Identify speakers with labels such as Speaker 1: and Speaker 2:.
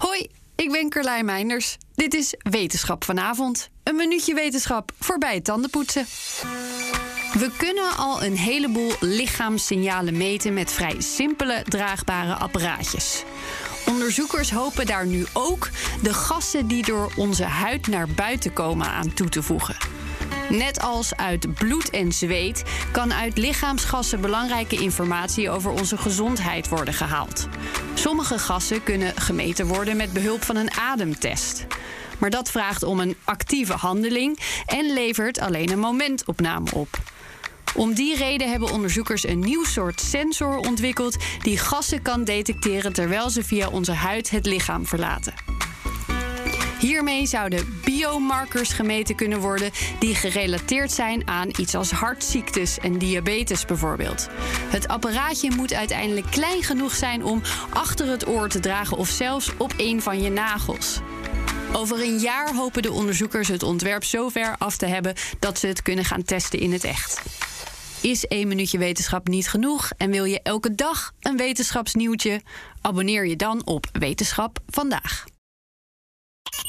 Speaker 1: Hoi, ik ben Carlijn Meinders. Dit is Wetenschap vanavond. Een minuutje wetenschap voorbij het tandenpoetsen. We kunnen al een heleboel lichaamssignalen meten met vrij simpele draagbare apparaatjes. Onderzoekers hopen daar nu ook de gassen die door onze huid naar buiten komen aan toe te voegen. Net als uit bloed en zweet kan uit lichaamsgassen belangrijke informatie over onze gezondheid worden gehaald. Sommige gassen kunnen gemeten worden met behulp van een ademtest. Maar dat vraagt om een actieve handeling en levert alleen een momentopname op. Om die reden hebben onderzoekers een nieuw soort sensor ontwikkeld die gassen kan detecteren terwijl ze via onze huid het lichaam verlaten. Hiermee zouden biomarkers gemeten kunnen worden die gerelateerd zijn aan iets als hartziektes en diabetes bijvoorbeeld. Het apparaatje moet uiteindelijk klein genoeg zijn om achter het oor te dragen of zelfs op een van je nagels. Over een jaar hopen de onderzoekers het ontwerp zo ver af te hebben dat ze het kunnen gaan testen in het echt. Is één minuutje wetenschap niet genoeg en wil je elke dag een wetenschapsnieuwtje? Abonneer je dan op Wetenschap vandaag.